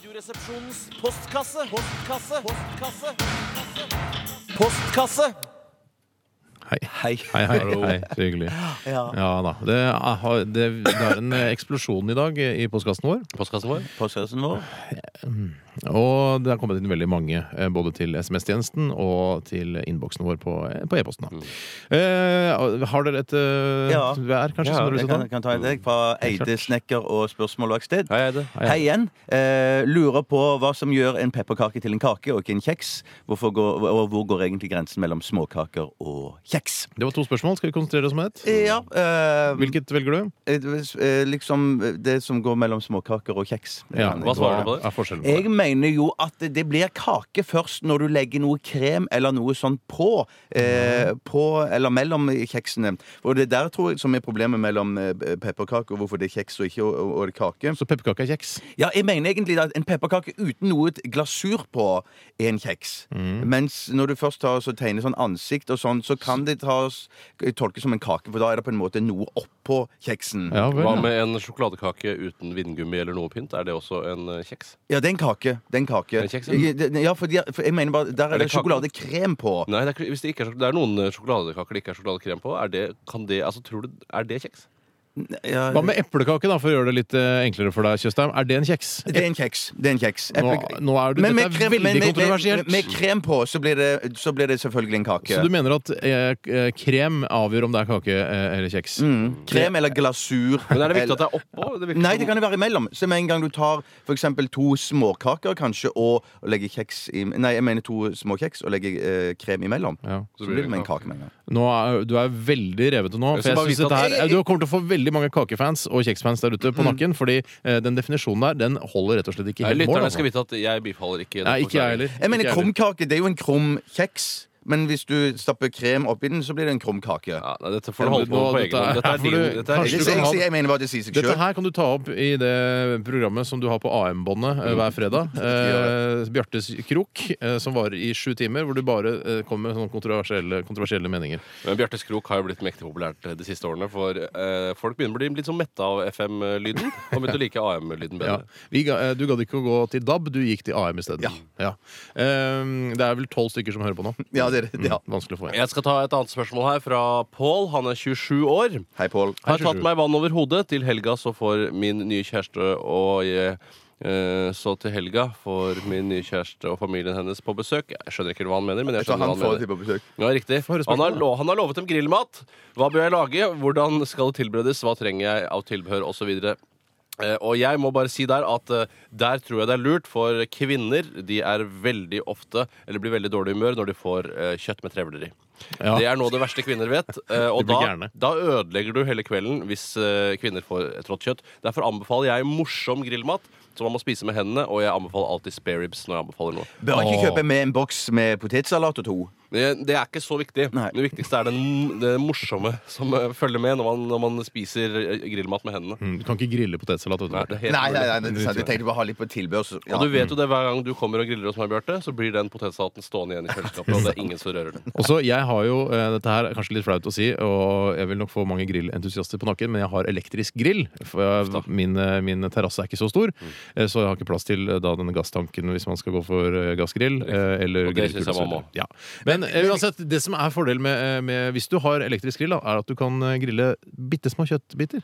Radioresepsjonens postkasse. Postkasse. Postkasse. Postkasse. Hei. Hei. Hei, hei, hei. Så hyggelig. Ja. Ja da. Det, aha, det, det er en eh, eksplosjon i dag i postkassen vår. Postkassen vår. Postkassen vår. Og det har kommet inn veldig mange, eh, både til SMS-tjenesten og til innboksen vår på, eh, på e-posten. da. Eh, har dere et eh, Ja. vær, kanskje? Ja, som dere vil jeg kan, ta? kan ta Mm, en deg fra Eide snekker og spørsmål og sted. Hei, Eide. Hei, Hei igjen. Eh, lurer på hva som gjør en pepperkake til en kake og ikke en kjeks. Hvorfor går, og hvor går egentlig grensen mellom småkaker og kjeks? Det var to spørsmål. Skal vi konsentrere oss om ett? Eh, Ja, eh, Hvilket velger du? eh, liksom eh, det som går mellom småkaker og kjeks. Det kan jeg gå- hva svarer du på det? Er forskjellen på det? Jeg mener jo at det blir kake først når du legger noe krem eller noe sånt på. Eh, på eller mellom kjeksene. Og det der tror jeg som er problemet mellom eh, pepperkake og hvorfor det er kjeks og ikke og, og, og kake. Så pepperkake er kjeks? Ja, jeg mener egentlig at en pepperkake uten noe glasur på er en kjeks. Mens når du først tar, så tegner sånn ansikt og sånn, så kan det tas, tolkes som en kake, for da er det på en måte noe oppå kjeksen. Ja, Ja vel. Hva ja. med en sjokoladekake uten vindgummi eller noe pynt? Er det også en eh, kjeks? det er en kake. Det er en kake. En kjeks, ja. ja, det- ja for, de, for jeg mener bare, der er, det det sjokoladekrem på. Nei, det er, ikke- hvis det, ikke er, sjok- det er noen eh, sjokoladekaker det ikke er sjokoladekrem på. Er det, kan det, altså, tror du, er det kjeks? Ja, Hva med eplekake, da, for å gjøre det litt eh, enklere for deg, Tjøstheim? Er det en kjeks? det er en kjeks. Det er en kjeks. Nå, nå er du, Men med dette er krem- veldig men med- kontroversielt. Med, med krem på, så blir, det, så blir det selvfølgelig en kake. Så du mener at eh, eh, krem avgjør om det er kake eh, eller kjeks? Mm. Krem eller glasur. Men er det eller- viktig at det er oppå? Det virker Nei, som- det kan jo være imellom. Så med en gang du tar for eksempel to småkaker kanskje, og og legger kjeks i Nei, jeg mener to små kjeks og legger eh, krem imellom. Ja. Så blir det med en kake med en gang. Nå er, du er veldig revete nå. Jeg For skal bare jeg synes vite dette at- Mm. her, du kommer til å få veldig mange kakefans og kjeksfans der ute på nakken. Fordi eh, den definisjonen der den holder rett og slett ikke Nei, helt mål. Lytterne altså. skal vite at jeg bifaller ikke. det Nei, ikke jeg forslaget. heller. Jeg mener Ikke jeg krumkake. Det er jo en krum kjeks. Men hvis du stapper krem oppi den, så blir det en krum kake. Ja, nei, dette får du holde på Nå, på dette egen er- hånd. Dette her er får din. du- Dette er kanskje du Jeg, din. kan jeg, ha- jeg mener bare det sier seg Dette sjøl. her kan du ta opp i det programmet som du har på AM-båndet Mm. eh, hver fredag. Eh, Bjartes krok, eh, som varer i sju timer, hvor du bare eh, kommer med sånne kontroversielle, kontroversielle meninger. Men Bjartes Krok har jo blitt mektig populært de siste årene, for eh, folk begynner å bli litt sånn metta av FM-lyden, og begynte å like AM-lyden Ja. bedre. Vi ga, eh, du gadd ikke å gå til DAB, du gikk til AM isteden. Ja. Eh, det er vel tolv stykker som hører på nå. Ja, det, er det, ja. Vanskelig å få igjen. Jeg skal ta et annet spørsmål her fra Pål. Han er 27 år. Hei, Pål. Har Hei, 27. tatt meg vann over hodet. Til helga så får min nye kjæreste og jeg eh, så til helga får min nye kjæreste og familien hennes på besøk. Jeg skjønner ikke hva han mener, men jeg Så skjønner han hva han får mener. det til på besøk. Ja, riktig. Få høre Han har, spørsmålet. lo han har lovet dem grillmat. Hva bør jeg lage? Hvordan skal det tilberedes? Hva trenger jeg av tilbehør? Og så videre. Eh, Og jeg må bare si der at eh, der tror jeg det er lurt, for kvinner de er veldig ofte Eller blir veldig dårlig i humør når de får eh, kjøtt med trevler i. Ja. Det er noe av det verste kvinner vet. eh, Og De blir da, gærne. da ødelegger du hele kvelden hvis eh, kvinner får et rått kjøtt. Derfor anbefaler jeg morsom grillmat som man må spise med hendene, og jeg anbefaler alltid spareribs når jeg anbefaler noe. Bør han ikke Åh. kjøpe med en boks med potetsalat og to? Det, det er ikke så viktig. Nei. Det viktigste er den, det morsomme som eh, følger med når man, når man spiser eh, grillmat med hendene. Mm, Du kan ikke grille potetsalat. vet du. Nei, det er helt Nei, nei, nei, mulig. det er sant. jeg tenkte bare ha litt på tilbehør. så- Ja. Og du vet jo det hver gang du kommer og griller hos meg, Bjarte, så blir den potetsalaten stående igjen i kjøleskapet, og det er ingen som rører den. Og så, jeg har jo, eh, Dette her er kanskje litt flaut å si, og jeg vil nok få mange grillentusiaster på nakken, men jeg har elektrisk grill. For jeg, min eh, min terrasse er ikke så stor, Mm. eh, så jeg har ikke plass til eh, da denne gasstanken hvis man skal gå for eh, gassgrill. eh, Eller Og det synes jeg grillkule, man må. så- Ja. Men eh, uansett, det som er fordelen med, eh, med hvis du har elektrisk grill, da, er at du kan eh, grille bitte små kjøttbiter.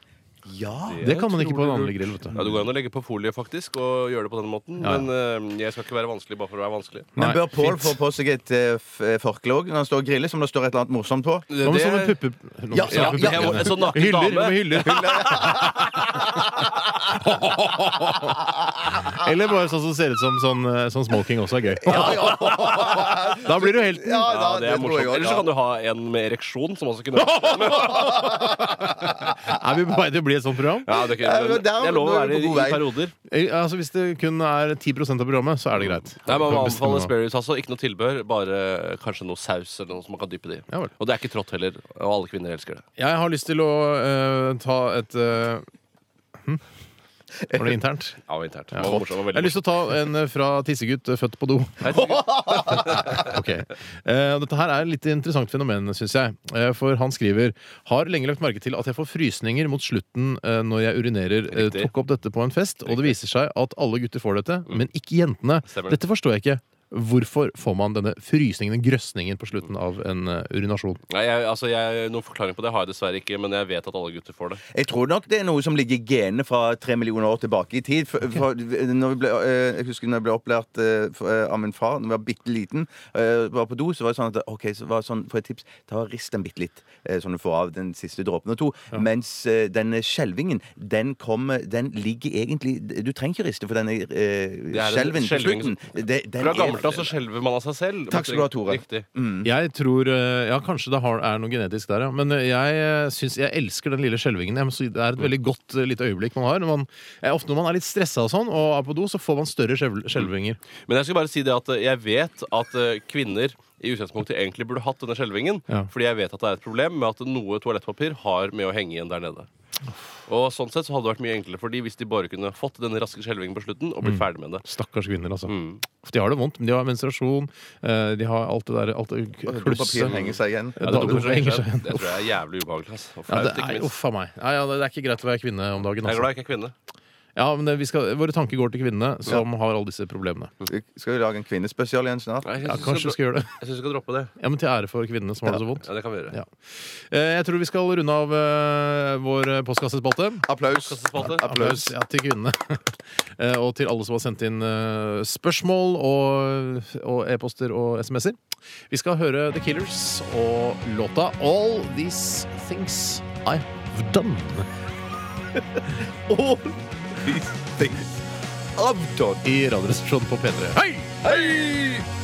Ja. Det kan man ikke på en utrolig vanlig lurt. grill. vet du. Ja, Du går an å legge på folie faktisk og gjøre det på den måten, Ja, ja. men eh, jeg skal ikke være vanskelig bare for å være vanskelig. Nei, Men bør Pål fint. få på seg et eh, f- eh, forkle òg når han står og griller, som det står et eller annet morsomt på? Hva med Det- sånne puppe... Ja, sånne ja, puppe- ja, en sånn naken hyller, dame. med hyller. Eller bare sånn som ser ut som sånn, eh, sånn smoking også er gøy. Da blir du helten. Ja, Ja, det er tror jeg morsomt. også, Eller så ja. kan du ha en med ereksjon, som også kunne Er vi på vei til å bli et sånt program? Ja, det er ikke, Ja, men men der- jeg lover å nå er være vi på i, god vei. i perioder. Eh, Altså, hvis det kun er 10 av programmet, så er det greit. Nei, man Bestemme anbefaler nå. spareribs altså. Ikke noe tilbehør, bare kanskje noe saus eller noe som man kan dyppe det i. Ja vel. Og det er ikke trått heller, og alle kvinner elsker det. Jeg har lyst til å eh, ta et eh, hm? Var det internt? Ja, internt. Ja. Det var morsomt, det Jeg har var veldig lyst til å ta en eh, fra tissegutt eh, født på do. morsomt. Ok. Eh, og dette her er et litt interessant fenomen, syns jeg. Eh, for han skriver Har lenge lagt merke til at jeg får frysninger mot slutten eh, når jeg urinerer. Eh, Riktig. Mm. tok opp dette på en fest, og det viser seg at alle gutter får dette, men ikke jentene. Stemmer det. Dette forstår jeg ikke. Hvorfor får man denne frysningen, den grøsningen, på slutten av en eh, urinasjon? Nei, jeg, altså, jeg, noen forklaring på det har jeg dessverre ikke, men jeg vet at alle gutter får det. Jeg tror nok det er noe som ligger i genene fra tre millioner år tilbake i tid. For, for, når vi ble, eh, jeg husker når jeg ble opplært eh, for, eh, av min far da jeg var bitte liten, eh, var på do, så var det sånn at OK, så var det sånn, for et tips, ta og rist den bitte litt, eh, sånn du får av den siste dråpen og to. Mens eh, denne skjelvingen, den kommer Den ligger egentlig Du trenger ikke riste, for denne Det eh, er en skjelven på skjelving slutten det, den Fra er- gammelt av så skjelver man av seg selv. Takk skal du ha, Tore. Riktig. Jeg tror eh, Ja, kanskje det har, er noe genetisk der, ja. Men eh, jeg eh, syns jeg elsker den lille skjelvingen. Jeg må si, Det er et Mm. veldig godt eh, lite øyeblikk man har. Når man, eh, ofte når man er litt stressa og sånn, og er på do, så får man større skjelv- skjelvinger. Men jeg skal bare si det at eh, jeg vet at eh, kvinner i utgangspunktet egentlig burde hatt denne skjelvingen. Ja. Fordi jeg vet at det er et problem med at noe toalettpapir har med å henge igjen der nede. Og sånn sett så hadde det vært mye enklere for de hvis de bare kunne fått denne raske skjelvingen på slutten og Mm. blitt ferdig med det. Stakkars kvinner, altså. Mm. De har det vondt, men de har menstruasjon, eh, de har alt det der alt det, Papiret henger seg igjen. Ja, Ja, da- det, hvorfor henger seg det tror jeg er jævlig ubehagelig. ass. Og Ja, flaut, det ikke er, minst. uff a meg. Nei, ja, det er ikke greit å være kvinne om dagen. Jeg er Altså. glad jeg ikke er kvinne. Ja, men det, vi skal, våre tanker går til kvinnene som har alle disse problemene. Skal vi lage en kvinnespesial igjen snart? Nei, jeg Ja, synes vi kanskje vi skal, skal gjøre det. dro- jeg synes vi skal droppe det. Ja, men Til ære for kvinnene som har det så vondt. Ja, det kan vi gjøre. Ja. Eh, Jeg tror vi skal runde av eh, vår eh, postkassespalte. Applaus. Kassespalte. Applaus. ja, til kvinnene. Eh, og til alle som har sendt inn eh, spørsmål og, og e-poster og SMS-er. Vi skal høre The Killers og låta All These Things I've Done. All these things I've done. I Radioresepsjonen på P3. Hei!